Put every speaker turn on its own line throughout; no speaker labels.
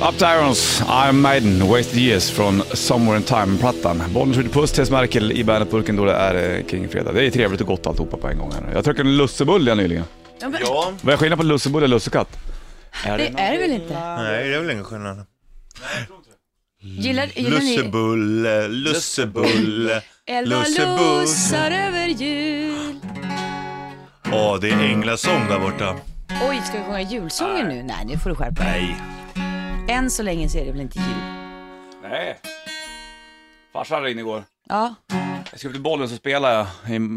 Up to Irons, I'm Maiden, Wasted Years från Somewhere in Time-plattan. Bollen skjuter puss, Tess Merkel i Bandet-burken då det är eh, Kingfredag. Det är trevligt och gott alltihopa på en gång här. Jag drack en lussebulle nyligen.
Ja, men,
Ja.
Vad är skillnaden på lussebulle och lussekatt?
det är det väl inte?
Nej, det är väl ingen skillnad.
Gillar, gillar ni
Lussebulle, lussebulle.
elva
Lussebuss.
lussar över jul?
Åh, det är änglasång där borta.
Oj, ska vi sjunga julsånger nu? Nej, nu får du skärpa dig.
Nej.
Än så länge så är det väl inte jul?
Nej. Farsan ringde igår.
Ja,
Jag ska upp till bollen så spelar jag,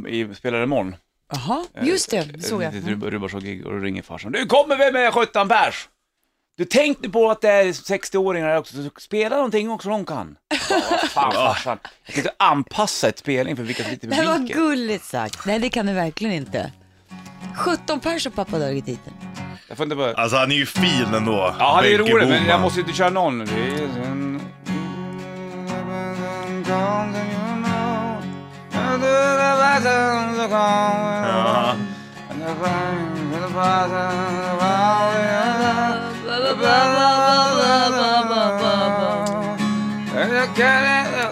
i, i, spelar imorgon.
jaha, just det, såg jag. Mm.
Ett litet Rubarsson-gig och då ringer farsan. Du kommer vi med 17 pers! Du tänk nu på att det är 60-åringar här också, så spela någonting också de kan. Ja, vad fan farsan. Jag kan inte anpassa ett spelning för vilka som sitter i
Det här var
publiken.
gulligt sagt. Nej, det kan du verkligen inte. 17 pers har pappa dragit hit.
Jag får inte bara...
Alltså han är ju fin ändå.
Ja, han är
Benke
rolig, men jag
Boman.
måste ju inte köra någon. Det är en...
Ja.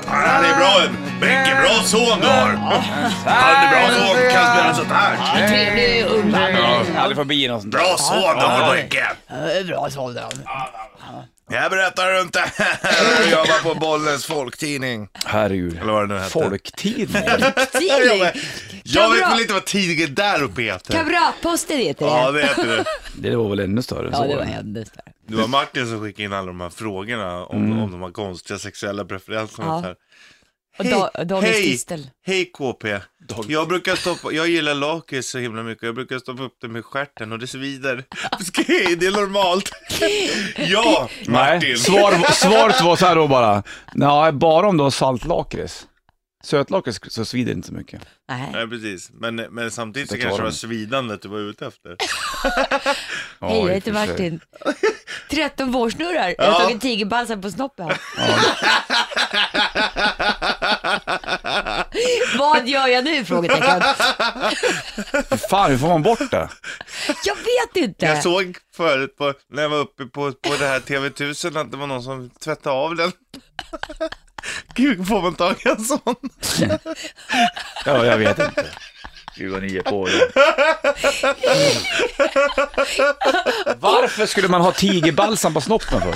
Han är bra. Benke, bra son du har. Han är bra son, kan spela sånt här.
Trevlig
Ja, Aldrig förbi någon sån där.
Bra son du har Benke.
Bra sådan.
Jag berättar runt det här. Jag jobbar på Bollnäs Folktidning.
Herregud.
Eller vad det nu hette.
Folktidning.
Jag, jobbar- jag vet
Kamrat.
väl inte vad tidningen där uppe heter.
Kamratposter heter
Ja,
det.
det heter det.
Det var väl ännu större än
Ja,
så.
det var ännu större.
Det var Martin som skickade in alla de här frågorna om,
Mm.
om de här konstiga sexuella preferenserna.
Ja.
Så här.
Och da, Daniel
hej,
Kistel.
hej KP. Jag brukar stoppa, jag gillar lakrits så himla mycket, jag brukar stoppa upp det med stjärten och det svider. Ska- Hej, det är normalt. ja, Martin.
Nej, svar, svaret var så här då bara. Nej, bara om du har saltlakrits. Sötlakrits så svider det inte så mycket.
Nej.
Nej, precis. Men, men samtidigt så
Det
kanske det
klarar
var
de.
svidandet du var ute efter.
Hej,
Ja,
jag
i
heter
och för sig.
Martin. 13 vårsnurrar. Jag har
Ja.
tagit tigerbalsam på snoppen. Vad gör jag nu? Frågetecken.
Fan, hur får man bort det?
Jag vet inte.
Jag såg förut på, när jag var uppe på, på det här TV1000 att det var någon som tvättade av den. Gud, får man tag i en sån?
Ja, jag vet inte. 29 på Varför skulle man ha tigerbalsam på snoppen för?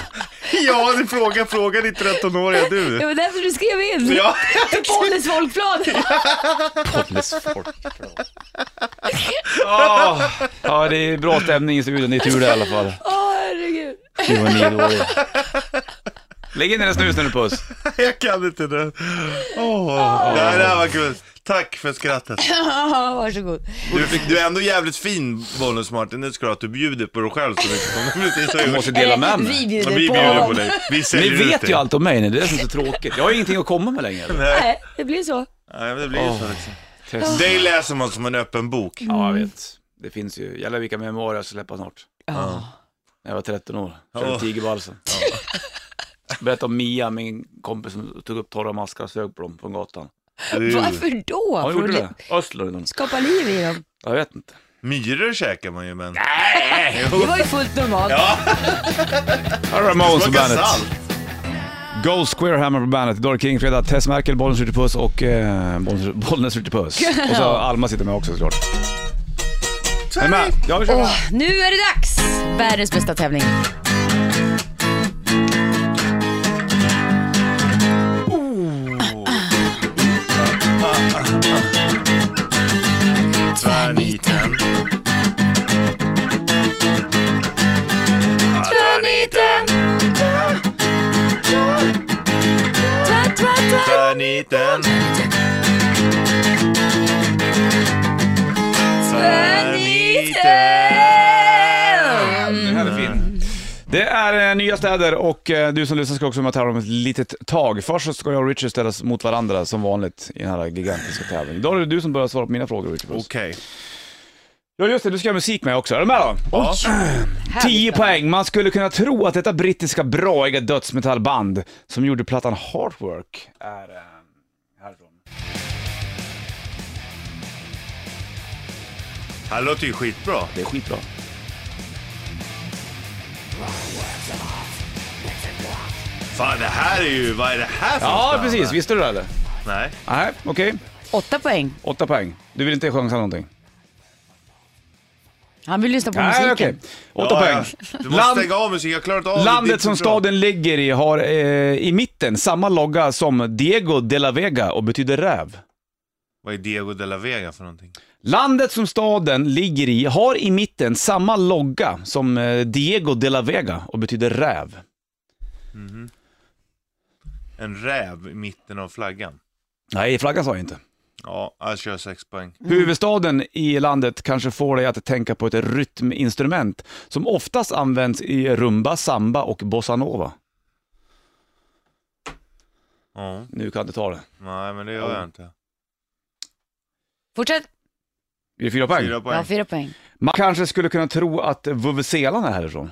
Ja, du frågar, frågar din 13-åriga
Det
du.
var därför du skrev in.
Ja,
Polles folkblad.
Oh, ja, det är bra stämning i studion. Det är tur det i alla fall.
Åh, herregud.
29 dålig. Lägg in den snusen nu Puss.
jag kan inte det. Oh, det här det här var kul. Tack för skrattet.
Varsågod.
Du, du är ändå jävligt fin, Bonus Martin. Det ska du ha, att du bjuder på dig själv så mycket som du precis har
Du
gjort.
måste dela med
Eh,
mig.
Vi bjuder
Men Vi
på.
bjuder på dig. Vi
Ni
säljer ut
vet
dig.
ju allt om mig nu, det är det som är så tråkigt. Jag har ju ingenting att komma med längre.
Nej, det blir så.
Ja, men det blir ju så liksom.
Test.
Dig läser man som en öppen bok.
Ja, jag vet. Det finns ju, jävlar vilka memoarer jag ska släppa snart.
Ja.
När jag var 13 år, körde
Ja.
tigerbalsen. Berätta om Mia, min kompis som tog upp torra maskar och sög på dem från gatan.
Varför då?
Ja, hon
För
gjorde
att
det. Östlor någon.
Skapa liv i dem.
Jag vet inte.
Myror käkar man ju, men...
Det var ju fullt normalt.
Ramones
Smakar salt.
Gold Square Hammer på bandet. Idag är det Kingfredag. Tess Merkel, Bollnäs skjuter puss och eh, Bollnäs- Bollnäs skjuter puss. Och så Alma sitter med också såklart. Är ni med? Ja, vi kör.
Åh, nu är det dags! Världens bästa tävling.
Tvärniten. Tvärniten.
Den här är
Mm.
fin. Det är eh, nya städer och eh, du som lyssnar ska också vara med och tävla om ett litet tag. Först så ska jag och Richard ställas mot varandra som vanligt i den här gigantiska tävlingen. Idag är det du som börjar svara på mina frågor Richard. Puss.
Okej.
Ja just det, du ska göra musik med också. Är du med då?
Ja.
10 poäng. Man skulle kunna tro att detta brittiska braiga dödsmetallband som gjorde plattan Heartwork är eh, härifrån.
Det här låter ju skitbra.
Det är skitbra.
Fan, det här är ju... Vad är det här för
Ja,
spännande?
precis. Visste du det eller?
Nej.
Nej, okej.
Åtta poäng.
Åtta poäng. Du vill inte chansa någonting?
Han vill lyssna på
Nej,
musiken.
okej. Åtta
ja,
poäng.
Ja. Du måste
Land-
stänga av musiken, jag klarar inte av det. Det är
Landet
inte
som
bra.
staden ligger i har eh, i mitten samma logga som Diego de la Vega och betyder räv.
Vad är Diego de la Vega för någonting?
Landet som staden ligger i har i mitten samma logga som eh, Diego de la Vega och betyder räv.
Mhm. En räv i mitten av flaggan.
Nej, flaggan sa jag inte.
Mm. Ja, jag kör sex poäng.
Huvudstaden i landet kanske får dig att tänka på ett rytminstrument som oftast används i rumba, samba och bossanova.
Ja,
Nu kan du ta det.
nej men det gör jag inte.
Fortsätt.
Är det fyra poäng?
Fyra
Ja,
poäng.
fyra poäng.
Man kanske skulle kunna tro att vuvuzelan är härifrån.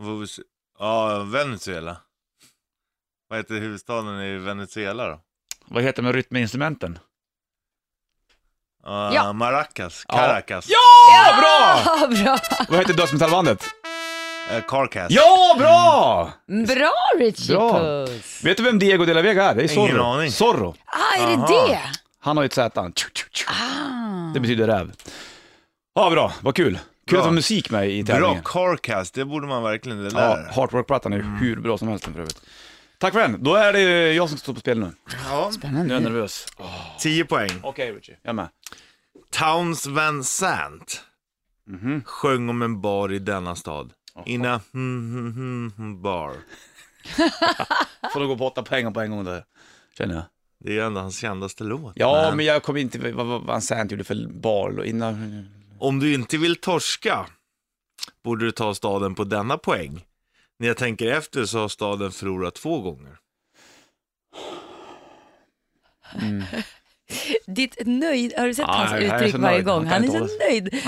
Vuvuz- Ja, Venezuela. Vad heter huvudstaden i Venezuela då?
Vad heter de rytminstrumenten?
Ah,
Ja.
Maracas, Caracas,
Ja, bra!
Ah, bra.
Vad heter dödsmetallbandet?
Eh, Carcass.
Ja, bra!
Bra Richie
Bra.
Puss.
Vet du vem Diego de la Vega är? Det är Zorro.
Ingen aning.
Zorro.
Ah, är det
Aha.
det?
Han har ju ett Z.
Ah.
Det betyder räv. Ja, bra. Vad kul. Kul
Bra.
att ha musik med i
Bra
tävlingen.
Carcass, det borde man verkligen, det
Ja,
där.
Heartwork-plattan är ju hur bra som helst för övrigt. Tack för den. Då är det jag som står på spel nu.
Ja.
Nu är jag nervös. Åh,
Tio poäng.
Okej Richie, jag med.
Towns Van Sant
Mhm.
sjöng om en bar i denna stad. In a mm, mm, mm, bar.
Får du gå på åtta pengar på en gång där. Känner jag.
Det är ju ändå hans kändaste låt.
Ja, men jag kommer inte... Vad, vad, vad Sant gjorde för bal och innan...
Om du inte vill torska borde du ta staden på denna poäng. När jag tänker efter så har staden förlorat två gånger.
Ditt nöjd, har du sett
Ah,
hans
jag är så
uttryck varje
nöjd.
gång?
Jag
Han är
kan
så
inte
nöjd.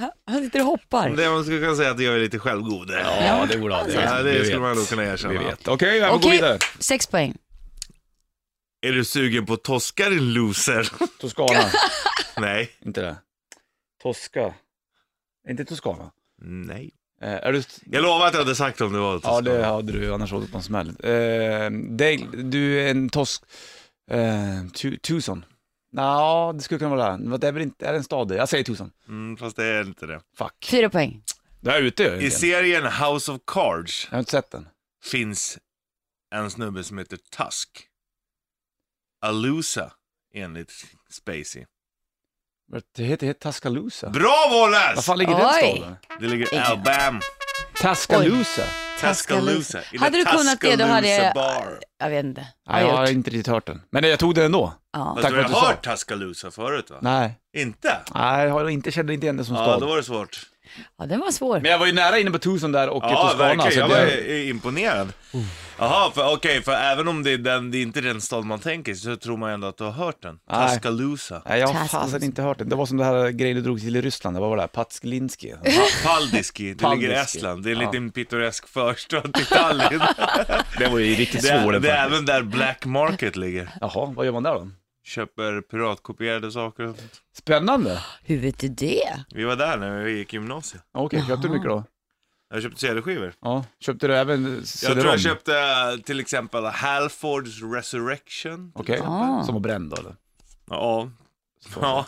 Han- Han sitter och hoppar.
Det man skulle kunna säga att jag är lite självgod. Ja,
Ja, det borde han.
det skulle man nog kunna erkänna.
Vi vet. Okej, jag får gå
Okej,
vidare.
sex poäng.
Är du sugen på Tosca din loser?
Toscana.
Nej.
inte det. Tosca. Inte Toscana.
Nej.
Eh, är du...
Jag lovar att jag hade sagt om det var Tosca.
Ja, det hade du annars åkt på en smäll. Eh, Dale, du är en tosk... Eh, tu, Tucson. Nå, det skulle kunna vara det. Men det är väl inte... Är det en stad? det? Jag säger Tucson.
Mm, fast det är inte det.
Fuck.
Fyra poäng.
Där ute jag
I
egentligen.
serien House of Cards
Jag har inte sett den.
finns en snubbe som heter Tusk. Alusa, enligt Spacey.
Det heter, heter Tuscaloosa.
Bra
Var
Wallace!
fan ligger den
Oj.
staden?
Det ligger i
Ingen.
Alabama.
Tuscaloosa?
Tuscaloosa. In a
Hade du kunnat det, då hade
Tuscaloosa
jag-
Bar.
Jag vet inte. Har
Nej, jag har
jag gjort.
inte riktigt hört den. Men jag tog den ändå.
Ja.
Fast
Tack för
du har
att du sa.
hört Tuscaloosa förut va?
Nej.
Inte?
Nej, jag har inte, kände inte igen det som
Ja,
stad.
då var det svårt.
ja, den var svår.
Men jag var ju nära inne på Tucson där och
Ja,
Toscana.
verkligen.
Så
Jag
alltså, det...
var eh, imponerad. Jaha, för- okej, för även om det, är den, det är inte är den stad man tänker så tror man ändå att du har hört den.
Nej.
Tuscaloosa.
Nej, jag har
Tuscaloosa.
fasen inte hört det. Det var som det här grejen du drog till i Ryssland, vad var det? Patsklinski.
Pa- Paldiski, det ligger i
Paldiski.
Estland. Det är en
Ja.
liten pittoresk förstad till Tallinn.
det var ju riktigt
det, är, det är även där Black Market ligger.
Jaha, vad gör man där då?
Köper piratkopierade saker och sånt.
Spännande.
Hur vet du det?
Vi var där när vi gick i gymnasiet.
Okej, köpte du mycket då?
Jag köpte CD-skivor.
Ja, köpte du även
Jag tror
cd-rom?
jag köpte eh, till exempel Halfords Resurrection.
Okej,
Ah.
som var bränd då eller?
Ja. ja,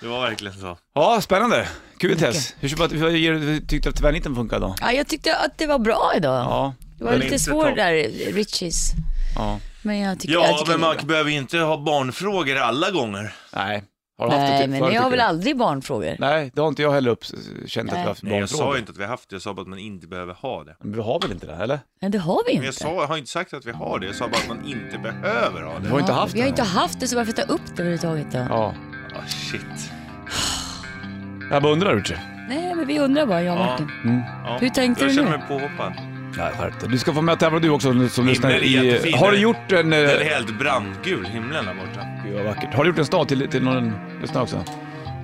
det var verkligen så.
Ja, spännande. Kul Tess. Hur, köpte- hur, hur, hur tyckte du att tvärniten funkade då?
Ja, jag tyckte att det var bra idag.
Ja,
det var
den är
lite
inte
svår
topp.
där, Richies.
ja.
Men jag tycker, jag
Ja,
tycker
men
det är
man
bra.
behöver inte ha barnfrågor alla gånger.
Nej. Har du haft det
Nej,
till-
men
förut,
jag har
tycker
väl
du?
aldrig barnfrågor.
Nej, det har inte jag heller upp, känt att vi
Nej.
har haft
Nej, jag sa
barnfrågor.
ju inte att vi har haft det, jag sa bara att man inte behöver ha det.
Men vi har väl inte det, eller?
Nej, det har vi ju
Men jag,
inte.
sa, jag har inte sagt att vi har det, jag sa bara att man inte behöver ha
Vi
det.
har inte
Ja,
haft
vi har
det.
inte haft det, så varför ta upp det överhuvudtaget då?
Ja.
Ah, shit.
Jag bara undrar Richie.
Nej, men vi undrar bara, jag och
Ja.
Martin.
Ja,
Hur tänkte
jag
du
Jag
nu?
känner mig påhoppad.
Nej, skärp dig. Du ska få med och tävla du också som lyssnar
Himlen är
i...
jättefin.
Har du gjort en... eh,
Den är helt brandgul, himlen där borta.
Gud vad vackert. Har du gjort en stad till, till någon lyssnare också?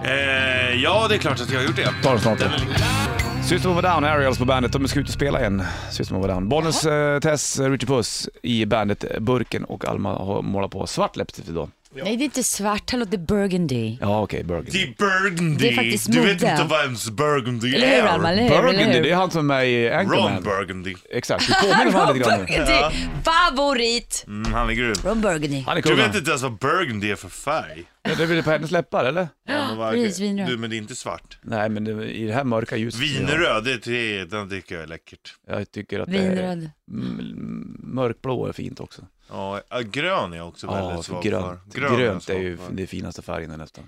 Eh, ja, det är klart att jag har gjort det.
Ta den snart.
Den är lite-
System of a Down, Aerials på bandet. De ska ut och spela igen. System of a Down. Bonus, eh, Tess, eh, Richie Puss i bandet eh, Burken och Alma har målat på svart läppstift idag.
Nej, det är inte svart. Hallå, det är burgundy.
Ja, okej, Burgundy.
The Burgundy.
Det är faktiskt
du vet
mode.
inte vad ens Burgundy
Eller hur,
är.
Alma? Eller hur? eller
Burgundy,
hur?
det är han som är med i
Ron
Anchorman.
Burgundy.
Exakt, du påminner om honom lite grann nu.
Burgundy. Favorit.
Mm, han är grym.
Ron Burgundy.
Han är
Du
kung.
vet
han.
inte ens vad Burgundy är för färg.
Ja, Det är väl på hennes läppar, eller?
Ja, men vad-
precis, vinröd.
Du, men det är inte svart.
Nej, men det, i det här mörka ljuset.
Vinröd, det, det, den tycker jag är läckert.
Jag, jag tycker att det är,
Vinröd.
mm, mörkblå är fint också.
Ja, ja, grön är jag också väldigt
Ja, för
svag
grönt.
för. Grön är jag
Grönt är
svag
ju
för.
den finaste färgen nästan.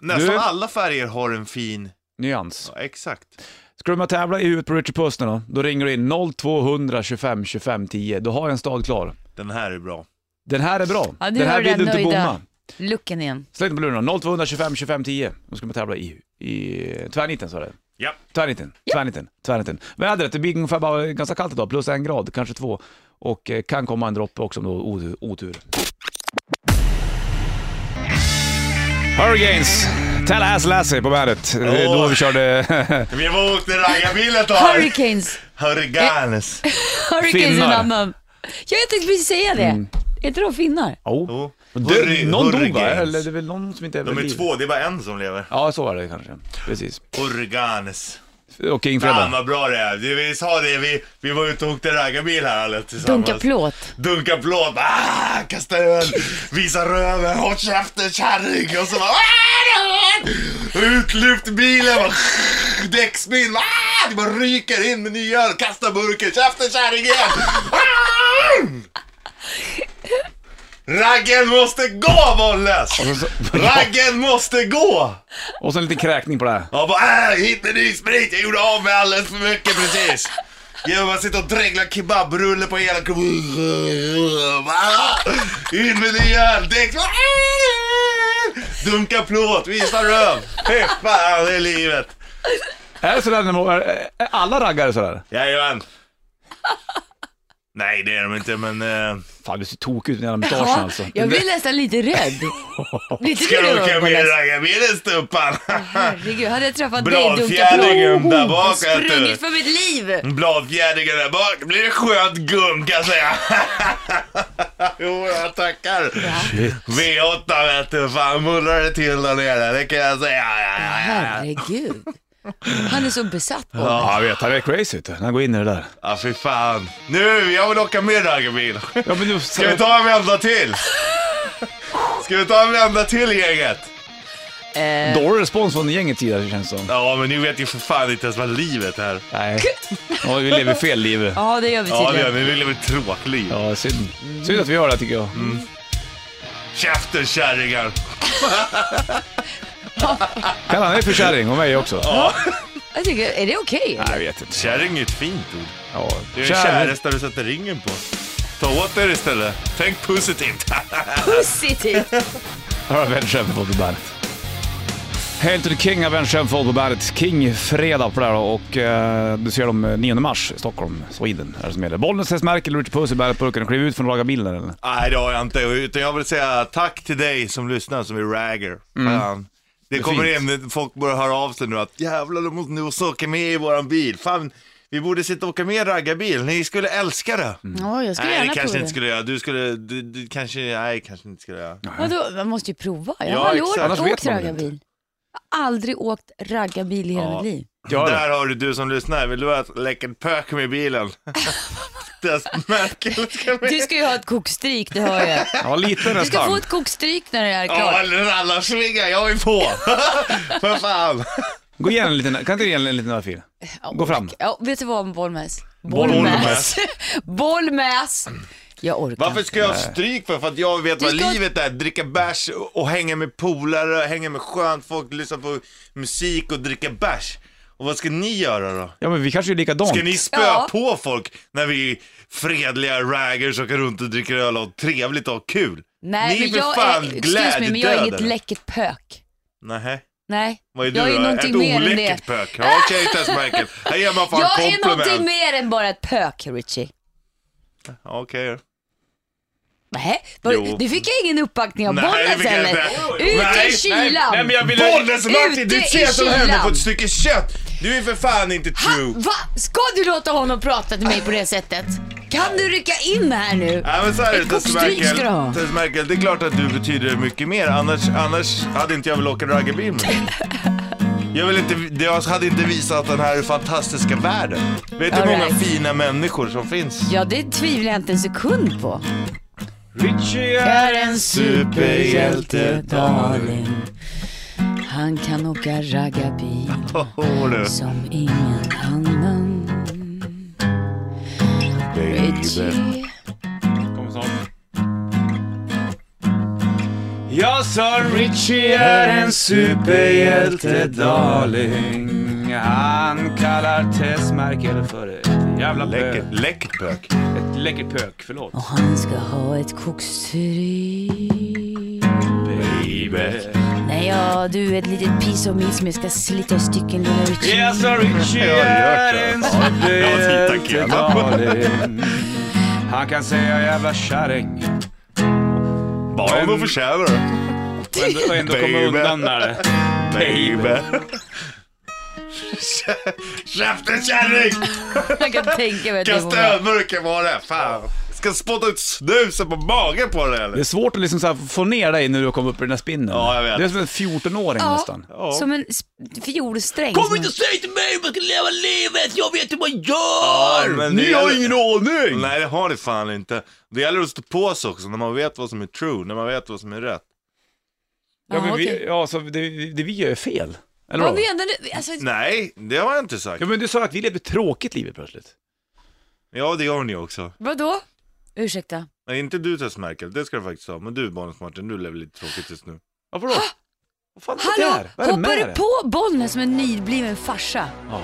Nästan
Du-
alla färger har en fin...
Nyans.
Ja, exakt.
Ska du med tävla i huvudet på Richard Puss nu då? Då ringer du in 0200 25 25 10. Då har jag en stad klar.
Den här är bra.
Den här är bra.
Ja, nu
den här
är
vill
jag
du inte
nöjda.
bomma.
Looken igen.
Släng på luren då. 0200 25 25 10. Då ska man tävla i, i tvärniten sa du?
Ja.
Tvärniten, tvärniten, tvärniten. Vädret, det blir ungefär bara ganska kallt idag, plus en grad, kanske två. Och eh, kan komma en droppe också om du har otur- otur. Hurricanes, Tallahassee Lassie på bandet. Det är Då vi körde
Men jag var åkte raggarbil ett tag.
Hurricanes.
Hurricanes.
Eh,
Hurricanes är en
Finnar.
annan. Ja, jag tänkte precis säga det. Är inte de finnar?
Oh.
Jo.
Du,
Hurri-
någon dog va?
Hurricanes.
Eller det är väl någon som inte är
De
vid
är
liv?
två, det är bara en som lever.
Ja, så är det kanske. Precis.
Hurricanes.
Och King
Fan
Fredag.
vad bra det är. Vi sa det, vi, vi var ute och åkte raggarbil här alla tillsammans.
Dunka plåt.
Dunka plåt, ah, kasta öl, visa röven, håll käften kärring och så bara ah, Utlyft bilen, bara, däcksmin, ah, det bara ryker in med nya öl, kasta burken, käften kärring igen! Ah! Raggen måste gå Wolles! Raggen måste gå!
Och så en liten kräkning på det här.
Jag bara äh, hit med ny sprit, jag gjorde av med alldeles för mycket precis. Jag bara sitter och dreglar kebabrulle på hela... Ah, In med ny öl, däck. Dunka plåt, visa röv. Fy fan, det är livet.
Är det sådär när man, är, är alla raggare sådär?
Jajamän. Nej, det är de inte, men... eh,
Fan, du ser tokig ut med den här mustaschen
Ja,
alltså.
jag blir nästan lite rädd. Lite
Ska du åka med i
rädd.
raggarbilstumpan?
Herregud, hade jag träffat dig
Bra
dunka
fjädring
plåt.
där bak, vet du.
Sprungit för mitt liv.
Bladfjädringar där bak, blir det skönt gum kan jag säga. jo, jag tackar.
Shit.
V8 vet du, fan mullrar det till där nere, det kan jag säga. Ja, ja, ja.
Herregud. Han är så besatt av
Ja,
mig.
jag vet. Han är crazy vet du, när han går in i det där.
ja fy fan. Nu, jag vill åka med raggarbil.
Ja, men du,
Ska vi ta en vända till? Ska vi ta en vända till gänget?
Eh,
Dålig respons från gänget sida känns som.
Ja, men ni vet ju för fan inte ens vad livet är.
Nej. Ja, vi lever fel liv.
Ja, det gör vi
Ja, det gör
tydligen.
ni. Ni lever ett tråkliv.
Ja, synd. Synd att vi gör det tycker jag.
Käften kärringar.
Kallar han dig för kärring och mig också?
Jag tycker, är det okej?
Nej, jag vet inte.
Kärring är ett fint ord.
Ja,
Det är käresta du sätter ringen på. Ta åt er istället. Tänk positivt.
Positivt.
Här har Avenged Sevenfold på bandet. Hail to the King, Avenged Sevenfold på bandet. King fredag på det här då. och eh, du ser dem eh, 9 mars i Stockholm, Sweden är det som gäller. Bollnäs, Hästmärkel, Richard Puss i bandet-burken. Kliv ut från laga bilden eller?
Nej, det har jag inte. Utan jag vill säga tack till dig som lyssnar, som är ragger. Fan. Det kommer
fint.
in, folk börjar höra av sig nu att jävlar, du måste nu också åka med i våran bil. Fan, vi borde sitta och åka med i raggarbil. Ni skulle älska det.
Ja, jag skulle
Nej,
gärna
det
prova
kanske inte
det.
skulle göra. Du skulle, du, du kanske, nej, kanske inte skulle göra.
Vadå, man måste ju prova. Jag
Ja,
har aldrig
exakt.
Annars
åkt,
vet
åkt
man väl
raggarbil. Jag har aldrig åkt raggarbil i hela
Ja.
mitt liv.
Ja,
Där har du, du som lyssnar. Vill du ha ett läckert pök med i bilen? Dess Merkel ska med.
Du ska ju ha ett kokstryk, det hör jag.
ja lite
Du ska få
nästan.
ett kokstryk när det är
Ja,
klart.
rallarsvingar, jag är på! För fan!
Gå igen en liten, kan inte du ge en en liten örfil? Gå fram.
Ja, vet du vad, Bollmäs?
Bollmäs.
Bollmäs! Jag orkar
Varför
inte.
ska jag ha stryk för? För att jag vet
Du
vad
ska-
livet är. Dricka bärs och hänga med polare, hänga med skönt folk, lyssna på musik och dricka bärs. Och vad ska ni göra då?
Ja men vi kanske är likadant.
Ska ni spöa
Ja.
på folk när vi är fredliga raggers och går runt och dricker öl och har trevligt och har kul?
Nej,
ni
men jag är, excuse me, men jag är inget läckert pök.
Nähä.
Nej,
Vad är du
jag
då?
är någonting
Ett
mer än det.
oläckert pök? Ja, Okej Tess Merkel, här ger man fan
Jag är någonting
komplement.
mer än bara ett pök, Richie.
Okej då.
Nej, var-
Jo.
nu fick jag ingen uppbackning av
Nej, det
Bollnäs
fick jag
heller.
inte.
Ut
Nej,
i kylan!
nej, men jag vill-
Bollnäs Martin,
Ute
du
i
ser som händer på
kylan.
ett stycke kött! Du är för fan inte
Ha,
true.
va? Ska du låta honom prata till mig på det sättet? Kan du rycka in här nu?
Nej men så här är det
Ett
Tess
koppstryk ska du
Merkel.
ha.
Tess Merkel, det är klart att du betyder mycket mer. Annars, annars hade inte jag velat åka raggarbil med dig. Jag, vill inte, jag hade inte visat den här fantastiska världen. Vet du hur
All
många
right.
fina människor som finns?
Ja, det tvivlar jag inte en sekund på.
Richie
är en
superhjälte, darling.
Han kan åka raggarbil
Åh du.
som ingen annan.
Baby.
Richie.
Kommer snart. Jag sa Richie är en superhjälte darling. Han kallar Tess Merkel för ett jävla pök.
Läckert, läckert bök.
Ett läckert pök, förlåt.
Och han ska ha ett kokstryk.
Baby.
Nej, ja, du är ett litet piece of meat som jag ska slita i stycken, lilla Richie.
Jag sa Richie
Jag har
är en
gjort det. Ja, titta,
superhjälte
killar.
darling. Han kan säga jävla kärring.
Bara om du förtjänar det.
Och ändå, och ändå komma
Baby.
undan med det.
Baby. Käften kärring!
Jag kan tänka mig att det
Kasta
var...
ölburken på det. Fan. Ska spotta ut snusen på magen på det
Det
eller?
är svårt att liksom så här få ner dig när du har kommit upp i den här spinnen.
Ja, jag vet.
Det är som en 14-åring nästan.
Ja, som en sp- fiolsträng.
Kom
som-
inte och säg till mig hur man ska leva livet, jag vet hur man gör!
Ja, men
Ni
det
har
gäller-
ingen aning!
Nej det har det fan inte. Det gäller att stå på sig också när man vet vad som är true, när man vet vad som är rätt.
Ja, men
Ja,
vi,
okej.
ja, så det, det vi gör är fel. Eller
Vad
vadå?
menar du? Alltså,
Nej, det har jag inte sagt.
Ja men du sa att vi lever ett tråkigt livet plötsligt.
Ja det gör ni också.
vadå? Ursäkta.
Nej inte du Tess Merkel, det ska du faktiskt ha. Men du Bonus Martin, du lever lite tråkigt just nu.
Varför då? Vad fan är det
Hallå,
där? Vad är det
hoppar
med
du
dig?
på Bollnäs som en nybliven farsa?
Ja.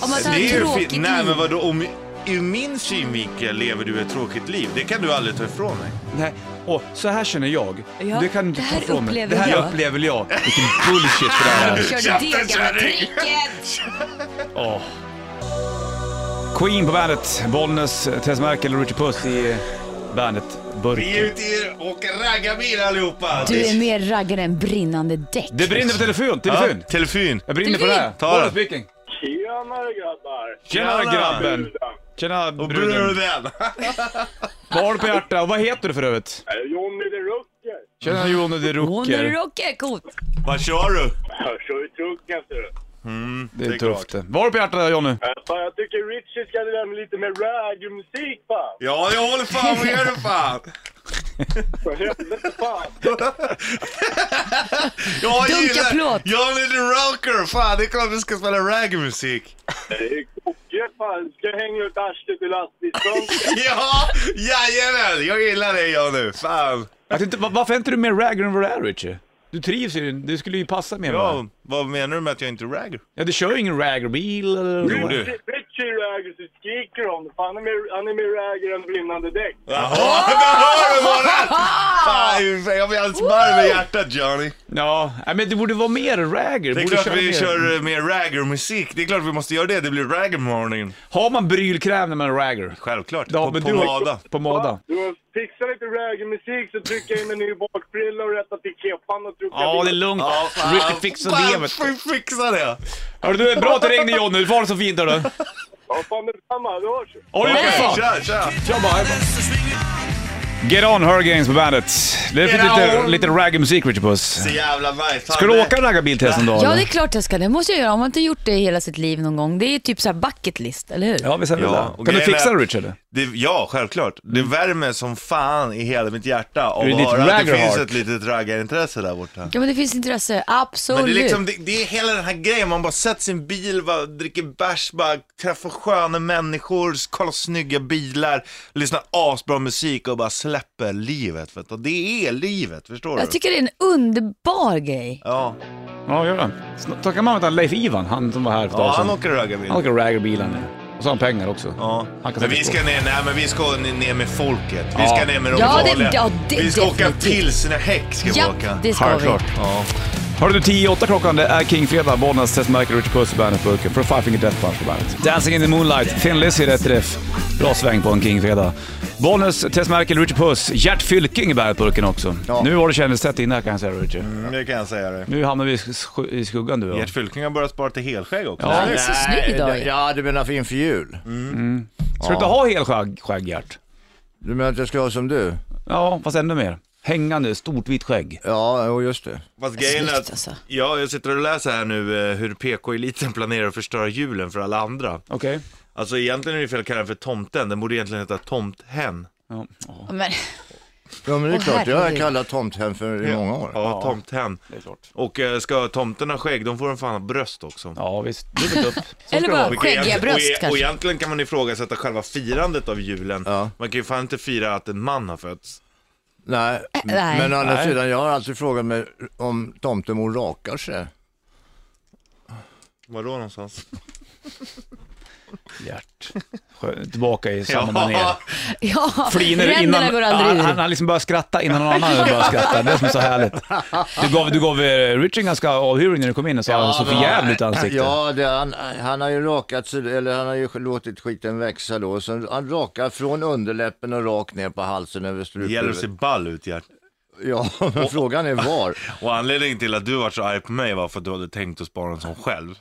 Om att han
det
har ett
fi-
tråkigt liv?
Nej men vadå, om, ur min synvinkel lever du ett tråkigt liv. Det kan du aldrig ta ifrån mig.
Nej, och så här känner jag.
Ja,
det kan du inte
det
ta
här
ifrån mig.
upplever
Det här
jag.
upplever jag. Vilken bullshit för det här är.
Kör
Käften,
du det gamla
kärring!
tricket?
Åh. Queen på bandet. Bollnäs, Tess Merkel och Richard Puss i bandet
Vi är
Burken.
ute i- och åker raggarbil allihopa.
Du är mer raggare än brinnande däck.
Det brinner på telefon,
Ja,
telefon.
telefon.
Jag brinner på det här.
Telefon.
Ta den.
Bollnäs Viking.
Tjenare grabbar!
Tjena
Tjena.
grabben. Tjena
Och
bruden.
bruden.
Vad har du på hjärtat? Och vad heter du för övrigt?
Eh, Johnny the Rucker!
Tjena Johnny de
Hon är
Rucker.
rocker, coolt.
Vad kör du?
Jag kör ju trucken ser du.
Det
Det är
är tufft. Vad har du på hjärtat Johnny?
Eh, Fan jag tycker Richie ska lära mig lite mer radiomusik fan!
Ja, jag håller fan med dig fan.
För helvete fan!
Jag
Dunka
gillar...
plåt.
Johnny the Rocker, fan. Det är klart vi ska spela raggarmusik.
Det är kokat fan! Ska jag hänga ut arslet ur lastbilsfönstret?
Ja, jajamän. Jag gillar dig Johnny. Fan.
Att inte, va- varför är inte du mer raggar än vad du är Richie? Du trivs ju, du skulle ju passa mer med
Ja,
det.
vad menar du med att jag inte raggar?
Ja, du kör ju ingen raggarbil eller...
Jo, du.
Richie raggar så skriker om det. Fan, han är mer- han är mer raggar än brinnande däck.
Jaha, där har du vårat!
Ah!
Fan, jag blir alldeles varm i hjärtat Johnny.
Ja, nej, men det borde vara mer raggar.
Det är
borde
klart
köra
vi
mer.
kör eh, mer raggarmusik. Det är klart vi måste göra det. Det blir raggarmorgon.
Har man brylkräm när man är raggar?
Självklart.
Ja,
på
men
på
du har-
Lada.
På Mada.
Du fixar lite raggarmusik så trycker jag in en ny bakfrilla och rättar till kepan och truckar
Ja, det är
bil.
lugnt.
Ja, fan.
Richie fixar det
Fan,
vet
får
du.
vi fixa det.
Hörru du, bra att du ringde Johnny. Du får ha det så fint hörru.
Ja, fan detsamma. Vi hörs!
Har du gjort det fan?
Kör, kör.
Kör bara, hej bara. Get on Hurricanes på bandet. Det är
Get
lite,
on.
lite raggarmusik Richie Puss.
Så jävla nice.
Ska du åka raggarbil till en dag
Ja, det
eller?
är klart jag ska. Det måste jag göra. Om man inte gjort det i hela sitt liv någon gång. Det är ju typ så här bucket list, eller hur?
Ja, vi säger
Ja,
väl det.
och
Kan du
grejen
fixa
är-
det Richard? Mm.
Det, ja, självklart. Det värmer som fan i hela mitt hjärta av
Är det ditt
att höra att det
raggarheart?
finns ett litet raggarintresse där borta.
Ja, men det finns intresse.
Men
Absolut.
det är, liksom, det, det är hela den här grejen, man bara sätter sin bil, bara, dricker bärs, bara träffar sköna människor, kollar snygga bilar, lyssnar asbra musik och bara släpper livet. Vet du? Det är livet, förstår du?
Jag tycker det är en underbar grej.
Ja,
Ja, gör det. Snart- Snacka man med han Leif Ivan, han som var här för ett
ja
tag sedan.
han åker raggarbil.
Han åker raggarbil han är. Och så har han pengar också.
Ja.
Han kan
Men
sätta
vi
på.
ska ner, nej men vi ska ner ner med folket. Vi
Ja.
ska ner med de
Ja, det-
vanliga.
ja, det-
vi ska åka
definitivt.
pilsnerhäck ska vi
Ja,
åka.
det ska vi.
Självklart.
Ja.
Hörru du, 10 8 klockan, det är King-fredag. Bollnäs, Tess Merkel, Richard Puss, Bandet Burken. För Five Finger Death Punch på bandet. Dancing in the Moonlight, Thin Lizzy i rätt träff. Bra sväng på en King-fredag. Bollnäs, Tess Merkel, Richard Puss, Gert Fylking i Bandet Burken också.
Ja.
Nu har du kändistätt inne här kan jag säga Richard.
Mm, Det kan jag säga dig.
Nu hamnar vi i sk- i skuggan du och jag.
Gert Fylking har börjat spara till helskägg också.
Ja.
Han är så snygg idag.
Ja, du menar för inför jul?
Ska du inte ha helskägg, skägg, Gert?
Du menar att jag ska vara som du?
Ja, fast ännu mer. Hängande, stort vitt skägg.
Ja, jo, just det.
Fast grejen är
Snyggt,
att,
alltså.
ja, jag sitter och läser här nu eh, hur PK-eliten planerar att förstöra julen för alla andra.
Okej.
Alltså egentligen är det fel att kalla den för tomten, den borde egentligen heta tomthen.
Ja.
Ja, Men,
Ja, men det är
Åh,
klart, jag har
herregud.
kallat tomthem för i många år.
Ja, tomthen.
Det är klart.
Och eh, ska tomten ha skägg, de får de fan ha bröst också.
Ja, visst. Livet upp. Så ska
Eller
det
bara-
vara.
Vilket
Skäggiga
egent-
bröst
och, e- och
kanske.
egentligen kan man ifrågasätta själva firandet av julen.
Ja.
Man kan ju fan inte fira att en man har fötts.
Nej,
nej.
men å andra
Nej.
sidan, jag har alltid frågat mig om tomtemor rakar sig.
Var då någonstans?
Gert. Skö- Tillbaka i samma manér.
ja,
Fliner
ränderna
innan...
går aldrig
han,
ur.
han, han liksom börjar skratta innan någon annan börjar skratta. Det är som är så härligt. Du gav, du gav eh, Richard en ganska avhyring när du kom in och sa att han såg för jävligt ansikte.
Ja, det, han, han har ju rakat sig, eller han har ju låtit skiten växa då. Så han rakar från underläppen och rakt ner på halsen över
Det gäller att se
struphuvudet.
ball ut Gert.
Ja, men frågan är var.
Och anledningen till att du var så arg på mig var för att du hade tänkt att spara en sån själv.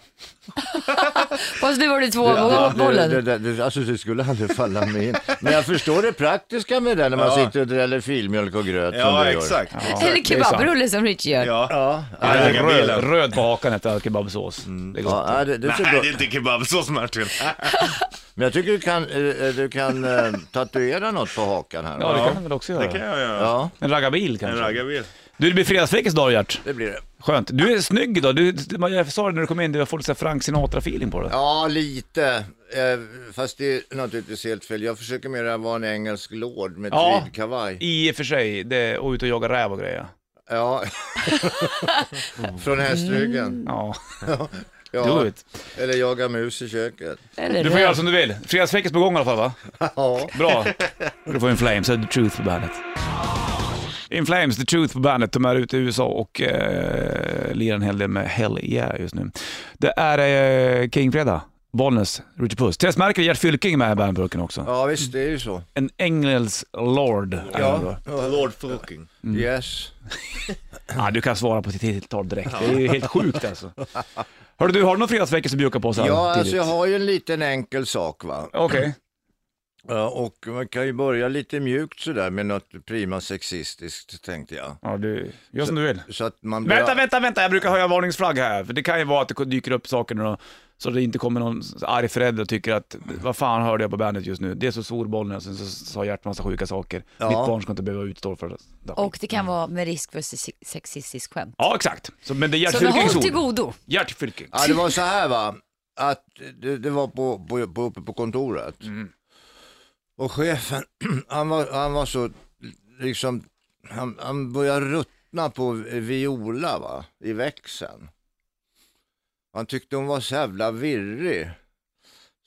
Fast nu var det två
Ja, det-
bollen.
det- det- det- Alltså det skulle aldrig falla mig in. Men jag förstår det praktiska med det när man
Ja.
sitter och dräller filmjölk och gröt som
Ja,
du
exakt.
Eller
det är sant.
kebabrulle som Richie gör.
Ja.
gör. Ja,
Han är
Äga
Röd,
bilen.
röd på hakan heter kebabsås. Liksom. Det är gott.
ja det, det
Nej,
ser bra
det är inte kebabsås Martin.
Men jag tycker du kan, eh, eh, du kan eh, tatuera något på hakan här.
Ja, det
va?
kan han väl också
Det kan
göra.
jag göra.
ja,
En raggarbil
En
kanske.
raggarbil.
Du, det blir fredagsfräckis idag Gert.
det blir det.
Skönt. Du är snygg idag. Du, du- jag sa det när du kom in, du har fått lite så här Frank Sinatra-feeling på dig.
Ja, lite. Eh, fast det är naturligtvis helt fel. Jag försöker mer vara en engelsk lord med
Ja.
tweedkavaj.
I och för sig, det, och ut och jaga räv och grejer.
Ja. Från hästryggen.
Ja, Mm. do
Ja.
it.
Eller jaga mus i köket.
Eller
Du får göra som du vill. Fredagsfräckis på gång i alla fall va?
Ja.
Bra. Du får In Flames, The Truth på bandet. In Flames, The Truth på bandet. De är ute i USA och eh, lirar en hel del med Hell Yeah just nu. Det är eh, King-fredag. Bollnäs, Richard Puss. Tess Merkel, Gert Fylking är med i bandburken också.
ja, visst det är ju så.
En Engels Lord. är det då.
Lord fucking.
Yes.
Ja, du kan svara på sitt tilltal direkt. Det är ju helt sjukt alltså. Hörru du, har du någon fredagsvecka som bjuder på så här
Ja, alltså
tidigt?
jag har ju en liten enkel sak va.
Okej.
Ja, och man kan ju börja lite mjukt sådär med något prima sexistiskt tänkte jag.
Ja, du gör som du vill.
Så att man blir...
Vänta, vänta, vänta, jag brukar höja varningsflagg här. För det kan ju vara att det dyker upp saker nu då, så det inte kommer någon arg förälder och tycker att vad fan hörde jag på bandet just nu? Dels så svor bollen och sen så sa Gert massa sjuka saker.
Ja.
Mitt barn ska inte behöva utstå för det.
Och det kan vara med risk för se- sexistisk skämt.
Ja, exakt. Så, men det är Gert
Så håll
Fylkings
till
ord.
godo.
Gert Fylking.
Ja, det var så här va, att det, det var på, på, på, uppe på kontoret. Och chefen, han var, han var så, liksom, han, han började ruttna på Viola va, i växeln. Han tyckte hon var så jävla virrig.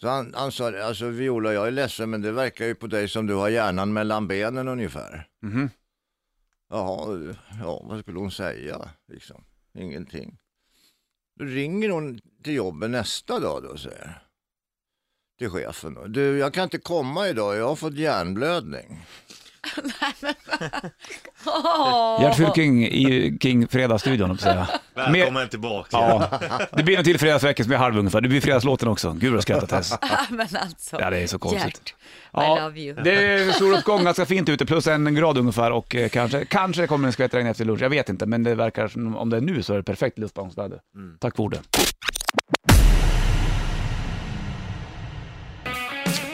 Så han, han sa, det, alltså Viola jag är ledsen men det verkar ju på dig som du har hjärnan mellan benen ungefär.
Mhm.
Jaha, ja, vad skulle hon säga liksom? Ingenting. Då ringer hon till jobbet nästa dag då och säger till chefen. då, Du, jag kan inte komma idag, jag har fått hjärnblödning.
Gert Fylking i King Fredagsstudion, höll jag på att säga.
Välkommen tillbaka.
Ja, det blir en till fredagsvecka som är halv ungefär. Det blir fredagslåten också. Gud vad jag skrattar Tess.
Men alltså,
Ja, det är så konstigt.
Gert, I
Ja,
love you.
det är soluppgång, ganska fint ute, plus en grad ungefär och eh, kanske, kanske det kommer en skvättregn efter lunch. Jag vet inte, men det verkar som om det är nu så är det perfekt luftballonsväder. Tack för ordet.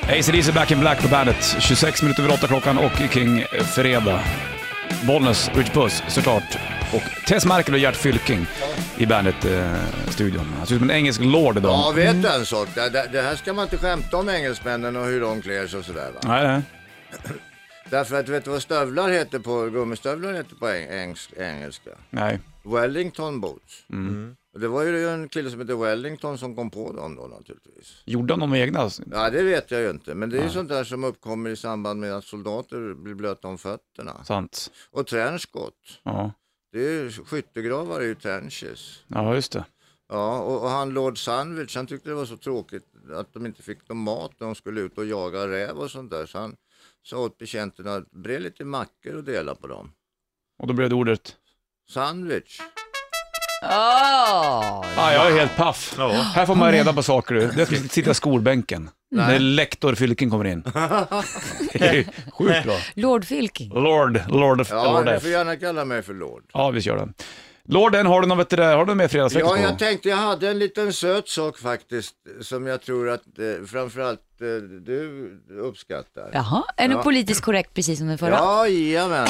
ACDC Back in Black på bandet. 26 minuter över 8 klockan och kring eh, fredag. Bollnäs, Rich Puss såklart. Och Tess Merkel och Gert Fylking i bandet-studion. Han ser ut som en engelsk lord idag.
Ja, vet du en sak? Det, det, det här ska man inte skämta om engelsmännen och hur de klär sig och sådär va.
Nej, nej.
Därför att vet du vad stövlar heter på, gummistövlar heter på eng, engs- engelska?
nej.
Wellington boots. Och det var ju en kille som hette Wellington som kom på dem då naturligtvis.
Gjorde han de egna?
Ja, det vet jag ju inte. Men det är ju sånt där som uppkommer i samband med att soldater blir blöta om fötterna.
Sant.
Och trenchcoat.
Ja.
Det är ju, skyttegravar är ju trenches.
ja, just det.
Ja, och, och han Lord Sandwich, han tyckte det var så tråkigt att de inte fick någon mat när de skulle ut och jaga räv och sånt där. Så han sa åt betjänterna att bre lite mackor och dela på dem.
Och då blev det ordet?
Sandwich.
Åh,
Ah, jag är helt paff.
Ja.
Här får man reda på saker du. Det ska sitta i skolbänken. När lektor Fylking kommer in. Det är ju Sjukt bra.
Lord Filking.
Lord, Lord of...
Ja,
Lord
du
F.
får gärna kalla mig för Lord.
Ja, vi kör den. Lorden, har du någon, vet du, det, har du med fredagsveckan
Ja, jag tänkte jag hade en liten söt sak faktiskt som jag tror att eh, framförallt eh, du uppskattar.
Jaha, är den
Ja.
politiskt korrekt precis som den förra?
Jajamän.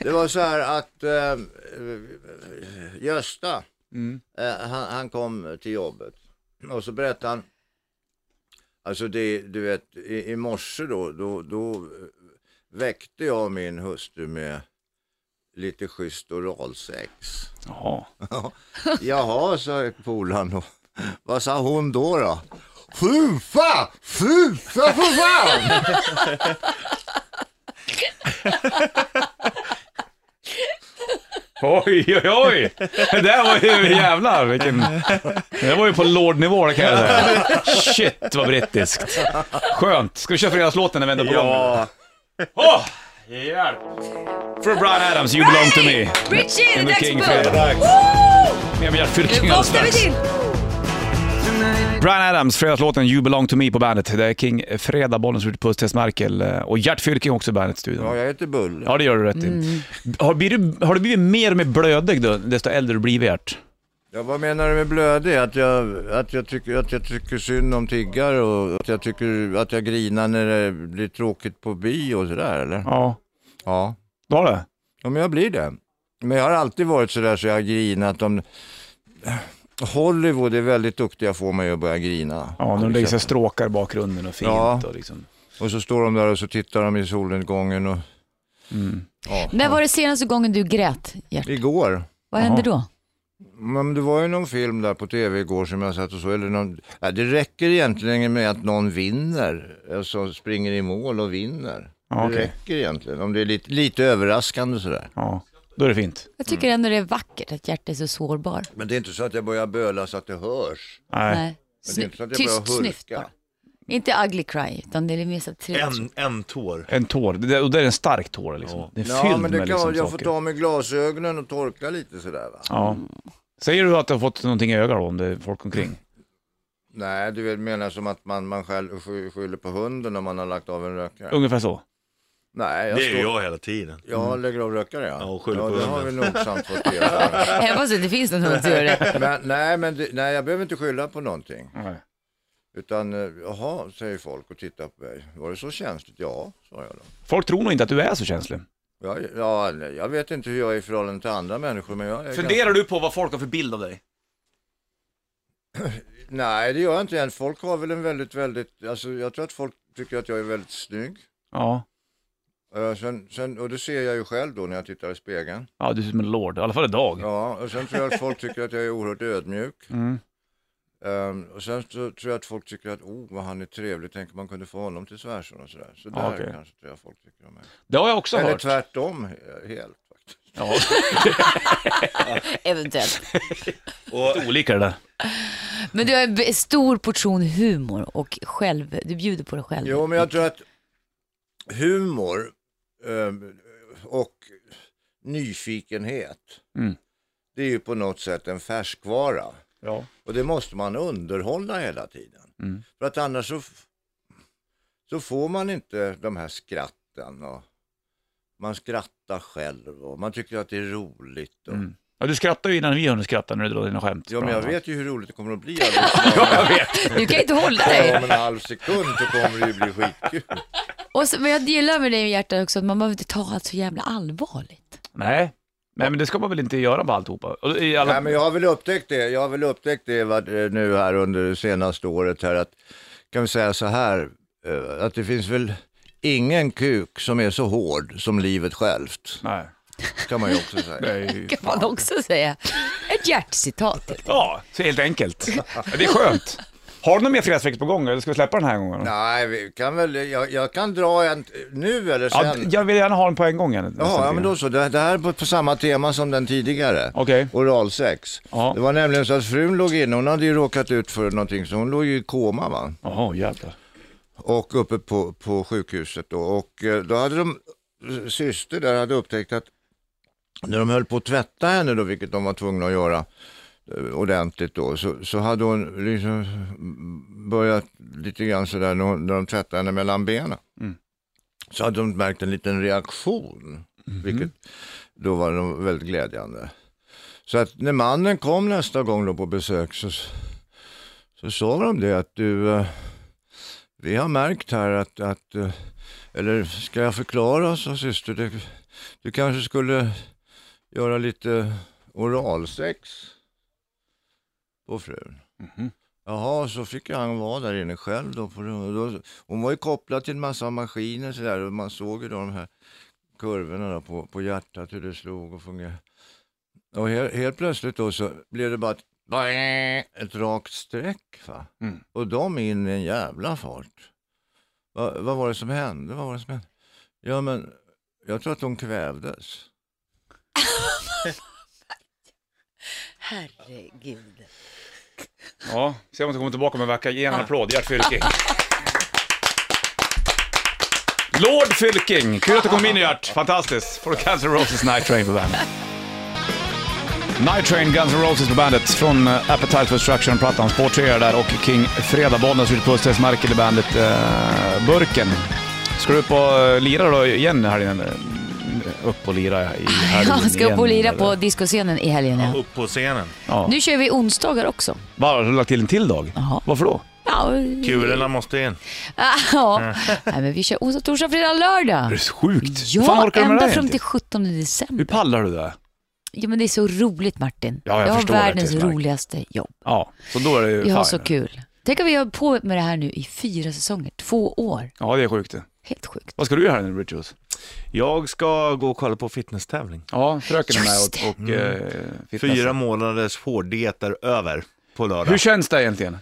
Det var så här att eh, Gösta, eh, han, han kom till jobbet och så berättade han, alltså det, du vet i, i morse då, då, då eh, väckte jag min hustru med lite schysst oralsex.
Jaha.
Jaha, sa polaren då. Vad sa hon då då? Fufa! Fufa för fan!
Oj, oj, oj! Det där var ju jävlar vilken... Det var ju på lordnivå det kan jag säga. Shit vad brittiskt. Skönt. Ska vi köra fredagslåten när vi ändå är på gång? Åh! Hjälp! För Brian Adams, You belong to me.
Richie, det är
Emil
dags
King,
för
fredag. Mer med Gert Fylking
Nu boxar vi
alldeles strax.
till!
Brian Adams, fredagslåten You belong to me på bandet. Det är King Fredag, Bollens Rute, Puss, Tess Merkel eh, och Gert Fylking också i bandet-studion.
Ja, jag heter Bull.
Ja, det gör du rätt i. Har, blir du, har du blivit mer och mer blödig då, desto äldre du blivit, Gert?
Ja, vad menar du med blödig? Att jag, att, jag tycker, att jag tycker synd om tiggare och att jag, tycker, att jag grinar när det blir tråkigt på bio och sådär eller?
Ja.
Ja.
Du har det?
ja, men jag blir det. Men jag har alltid varit sådär så jag har grinat om... Hollywood är väldigt duktiga får mig att börja grina.
Ja, när de lägger sig stråkar i bakgrunden och fint
Ja.
och liksom.
Och så står de där och så tittar de i solnedgången och... Ja.
När var det senaste gången du grät, Gert?
Igår.
Vad hände då?
Men det var ju någon film där på tv igår som jag satt och så. Eller någon, ja, det räcker egentligen med att någon vinner. Alltså springer i mål och vinner.
Ja, okej.
Det räcker egentligen. Om det är lite, lite överraskande sådär.
Ja, då är det fint.
Jag tycker ändå det är vackert att Gert är så sårbar.
Men det är inte så att jag börjar böla så att det hörs.
Nej.
Nej.
Men det är inte så att
Sny-
jag börjar
Tyst snyft
hurka.
bara. Inte ugly cry, utan det är mer så trevligt.
En, en tår.
En tår, det, där- och det är en stark tår liksom. Det är fylld
Ja, men det
med
kan,
liksom
jag får
saker.
ta med glasögonen och torka lite sådär va.
Ja. Säger du att du har fått någonting i ögat då, om det är folk omkring?
Nej, du vet, menar som att man, man själv sky- skyller på hunden om man har lagt av en rökare.
Ungefär så?
Nej, jag
Det är ju
står...
jag hela tiden.
Jag lägger av rökare ja.
Ja, och skyller
ja,
på
det har vi
hunden.
nogsamt fått göra.
Även fast det finns en hund som gör det.
Men, nej, men det, nej, jag behöver inte skylla på någonting.
Nej.
Utan, eh, jaha, säger folk och tittar på mig. Var det så känsligt? Ja, sa jag då.
Folk tror nog inte att du är så känslig.
Ja, ja, nej, jag vet inte hur jag är i förhållande till andra människor, men jag är
Funderar du på vad folk har för bild av dig?
ganska... Nej, det gör jag inte än. Folk har väl en väldigt, väldigt... Alltså, jag tror att folk tycker att jag är väldigt snygg.
Ja.
Eh, Sen, sen, och det ser jag ju själv då när jag tittar i spegeln.
Ja, du ser ut som en lord. I alla fall idag.
Ja, och sen tror jag att folk tycker att jag är oerhört ödmjuk.
Mm.
Ehm, och sen så tror jag att folk tycker att, oh vad han är trevlig, tänk om man kunde få honom till svärson och sådär. Så där
Ja, okej.
kanske tror jag folk tycker om mig.
Det har jag också
Eller
hört.
tvärtom he- helt. faktiskt.
Ja,
Eventuellt.
det är olika det där.
Men du har en b- stor portion humor och själv, du bjuder på det själv.
Jo, men jag tror att humor ehm, och nyfikenhet,
Mm.
det är ju på något sätt en färskvara.
Ja.
Och det måste man underhålla hela tiden.
Mm.
För att annars så, f- så får man inte de här skratten. Och man skrattar själv och man tycker att det är roligt. Och...
Mm. ja. Du skrattar ju innan vi hunnit skratta när du drar dina skämt.
Ja, men jag
Bra.
vet ju hur roligt det kommer att bli. alldeles
Jag vet.
Du kan inte hålla
snart.
dig.
Om en halv sekund så kommer det ju bli skitkul.
Och så, men jag gillar med dig i hjärtat också att man behöver inte ta allt så jävla allvarligt.
Nej. Nej, men det ska man väl inte göra med alltihopa? Och i alla-
Nej, men jag har väl upptäckt det. Jag har väl upptäckt det vad- eh, nu här under det senaste året här att, kan vi säga så här, eh, att det finns väl ingen kuk som är så hård som livet självt.
Nej.
Kan man ju också säga.
Det är ju...
Kan man också säga. Ett hjärtcitat.
Ja, så helt enkelt. Det är skönt. Har du någon mer fredagsvecka på gång eller ska vi släppa den här gången?
Nej, vi kan väl, jag, jag kan dra en t- nu eller
Ja,
sen.
jag vill gärna ha den på en gång. Jaha,
Jaha, ja men då så. Det, det här är på, på samma tema som den tidigare.
Okej.
Oralsex.
Ja.
Det var nämligen så att frun låg inne, hon hade ju råkat ut för någonting så hon låg ju i koma va.
Jaha, jävlar.
Och uppe på, på sjukhuset då. Och eh, då hade de, eh, syster där hade upptäckt att när de höll på att tvätta henne då, vilket de var tvungna att göra, eh, ordentligt då, så, så hade hon liksom börjat lite grann sådär när, hon, när de tvättade henne mellan benen. Så hade de märkt en liten reaktion, vilket då var de väldigt glädjande. Så att när mannen kom nästa gång då på besök så, så sa de det att du, eh, vi har märkt här att, att eh, eller ska jag förklara, sa syster, du, du kanske skulle göra lite oralsex på frun. Jaha, så fick han vara där inne själv då. På, rummet. då hon var ju kopplad till en massa maskiner så där, och man såg ju då de här kurvorna då på, på hjärtat, hur det slog och fungerade. Och helt, helt plötsligt då så blev det bara ett, ett rakt streck. Va?
Mm.
Och de in i en jävla fart. Va, vad var det som hände? Vad var det som hände? Ja, men jag tror att de kvävdes.
Herregud.
Ja, se om du kommer tillbaka om en vecka. Ge en applåd, Gert Fylking. Lord Fylking! Kul att du kom in Gert, fantastiskt. Från Guns N' Roses Night Train på bandet. Night Train, Guns N' Roses på bandet. Från eh, Appetite for Destruction-plattan. Spår 3 är där och King Fredag. Bollnäs ute på Östers Merkel i bandet. eh, burken. Ska du upp och eh, lira då igen här inne? Upp och lira i helgen
Jag Ah, ska upp och
igen,
lira
eller?
på discoscenen i helgen. Ja.
Upp på scenen.
Ja.
Nu kör vi onsdagar också.
Vad, har du lagt till en till dag?
Jaha.
Varför då?
Ja,
Kulorna måste in.
ja. Nej, men vi kör onsdag, torsdag, fredag, lördag.
Det är så sjukt. Hur fan
Ja,
orkar du med det
ända
här
fram till
egentligen?
17 december.
Hur pallar du det?
Ja, men det är så roligt Martin.
Ja, jag
har
förstår
världens
verkligen, Mark.
roligaste jobb.
Ja, så då är det ju
Jag har
fine.
så kul. Tänk om vi har på med det här nu i fyra säsonger, två år.
Ja, det är sjukt det.
Helt sjukt.
Vad ska du göra här nu, Bridgehouse?
Jag ska gå och kolla på fitnesstävling.
Ja, fröken är med
Just
och, och eh, fitnessen.
Fyra månaders hårdieter över på lördag.
Hur känns det egentligen?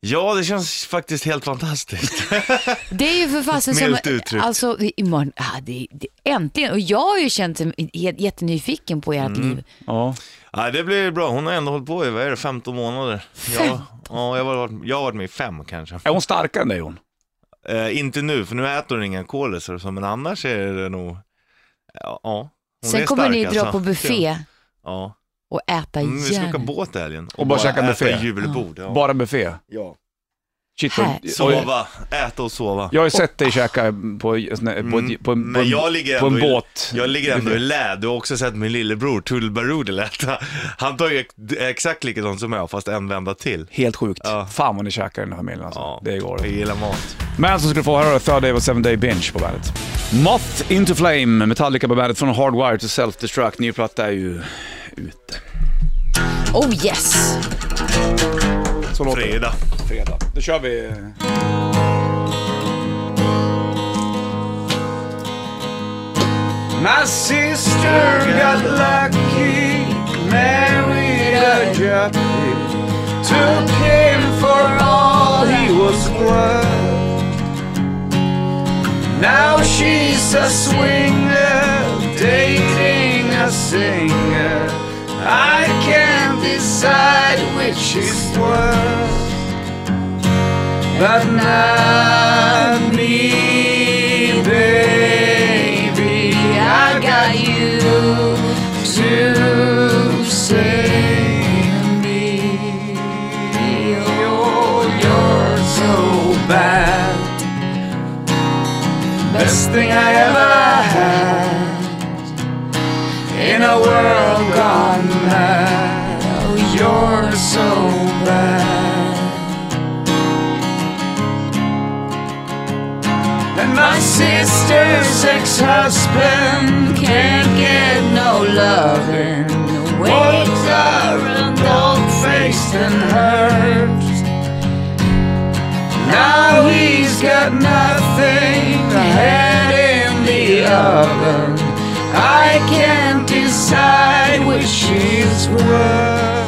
Ja, det känns faktiskt helt fantastiskt.
Det är ju för fasen som...
Milt uttryckt.
Alltså, det- imorgon, ja, det, det, äntligen. Och jag har ju känt mig j- jättenyfiken på ert
Mm.
liv.
Ja.
ja, det blir bra. Hon har ändå hållit på i, vad är det, 15 månader? Jag, ja, jag, har varit, jag har varit med i fem kanske.
Är hon starkare än dig hon?
Eh, inte nu, för nu äter hon inga kolisar och så, men annars är det nog, ja. ja. Hon
Sen
är
kommer
stark,
ni dra
alltså.
på buffé
Ja.
och äta
Mm, vi ska åka
järn.
båt i helgen.
Och bara käka buffé. Mm.
Äta julbord. Ja.
Bara buffé?
Ja.
Shit, vad-
Här.
Oj,
Sova, äta och sova.
Jag har ju sett dig käka på, en sån här- på, ett-
Mm,
på, en- på,
men
en-
jag ligger
på en
ändå i-
båt.
Jag ligger ändå i lä. Du har också sett min lillebror Tullbarudel äta. Han tar ju ex- exakt likadant som jag, fast en vända till.
Helt sjukt.
Ja.
Fan vad ni käkar i den här familjen alltså.
Ja.
Det går.
Jag gillar mat.
Men så ska du få höra Third Day of a Seven Day Binge på bandet. Moth Into Flame, Metallica på bandet från Hardwire to Self-Destruct. Ny platta är ju ute.
Oh yes!
Så låter det.
Fredag.
Fredag. Då kör vi. My sister got lucky, married a jockey, took him for all he was worth. Now she's a swinger, dating a singer. I can't decide which she's worth. But not me, baby. I got you to save me. Oh, you're so bad. Best thing I ever had in a world gone mad. Oh, you're so bad. And my sister's ex-husband can't get no loving. Waits are an old-faced and hurt. Now he's got nothing, head in the oven. I can't decide which she's worth.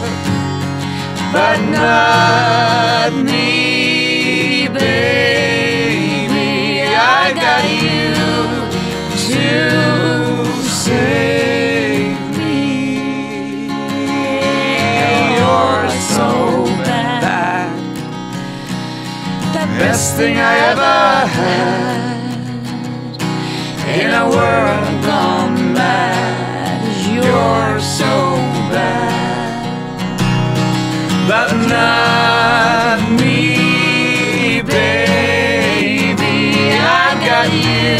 But not me, baby. I got you to save me. You're so bad. The best thing I ever had in a world gone mad. You're so bad. But not me, baby. I got you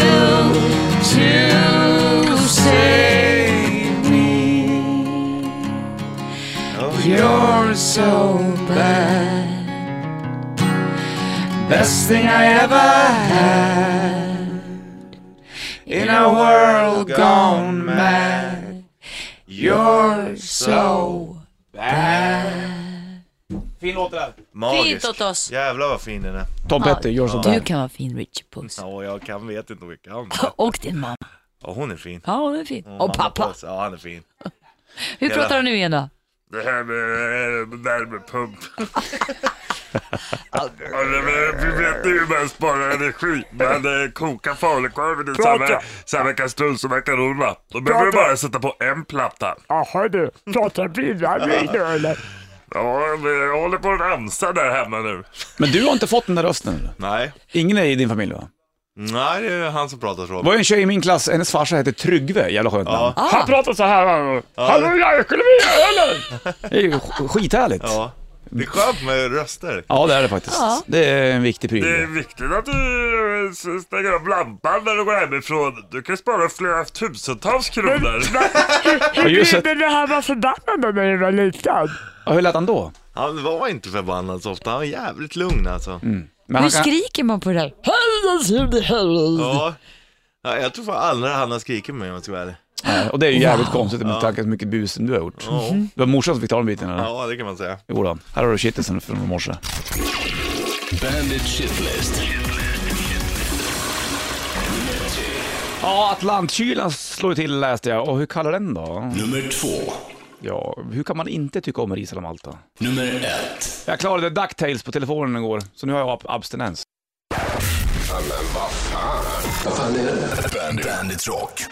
to save me. You're so bad. Best thing I ever had in a world gone mad. You're so bad. Fin låt det där.
Magisk.
Fint åt oss.
Jävlar vad fin den är.
Tom Petty,
Ja,
You're so
Du
bad.
kan vara fin Richie Puss.
Ja, jag kan, vet inte mycket om
Och din mamma.
Ja, hon är fin.
Ja, hon är fin.
Ja,
Och
han har
pappa.
på sig- Ja, han är fin.
Hur pratar han nu igen då?
Det här med eh, värmepump. Vi vet ju hur man sparar energi. Man eh, kokar falukorven i samma, samma kastrull som makaronerna. Då behöver du bara sätta på en platta.
Jaha du, pratar bilvärme nu eller?
Ja, jag håller på att ramsa där hemma nu.
Men du har inte fått den där rösten? eller?
Nej,
Ingen är i din familj va?
nej det är han som pratar så.
Det var ju en tjej i min klass, hennes farsa hette Tryggve, jävla skönt namn.
Han pratar så här.
Ah.
Hallå, jag skulle vilja eller?
Det är ju sk- skithärligt. Ja.
Ja. Det är skönt med röster.
det är det faktiskt. Det är en viktig pryl.
viktigt att du eh, stänger av lampan när du går hemifrån. Du kan spara flera tusentals kronor.
Ja, just det.
Men det här var förbannad när jag var liten.
Ja, hur lät han då?
Han var inte förbannad så ofta, han var jävligt lugn alltså.
Mm.
Men han
Hur
kan...
skriker man på det där?
Ja. ja, jag tror fan aldrig han har skrikit med mig om jag ska vara ärlig.
Nej, Och det är ju jävligt konstigt med tanke på hur mycket bus du har gjort. Det var morsan som fick ta den biten eller?
Ja, det kan man säga.
Jo då. här har du shitlisten från i morse.
Bandit Shitlist.
Ja, Atlantkylan slår ju till läste jag. Och hur kallar den då?
Nummer två.
Ja, hur kan man inte tycka om ris eller Malta?
Nummer ett.
Jag klarade DuckTales på telefonen igår, så nu har jag ab- abstinens.
Bandit. Bandit Rock.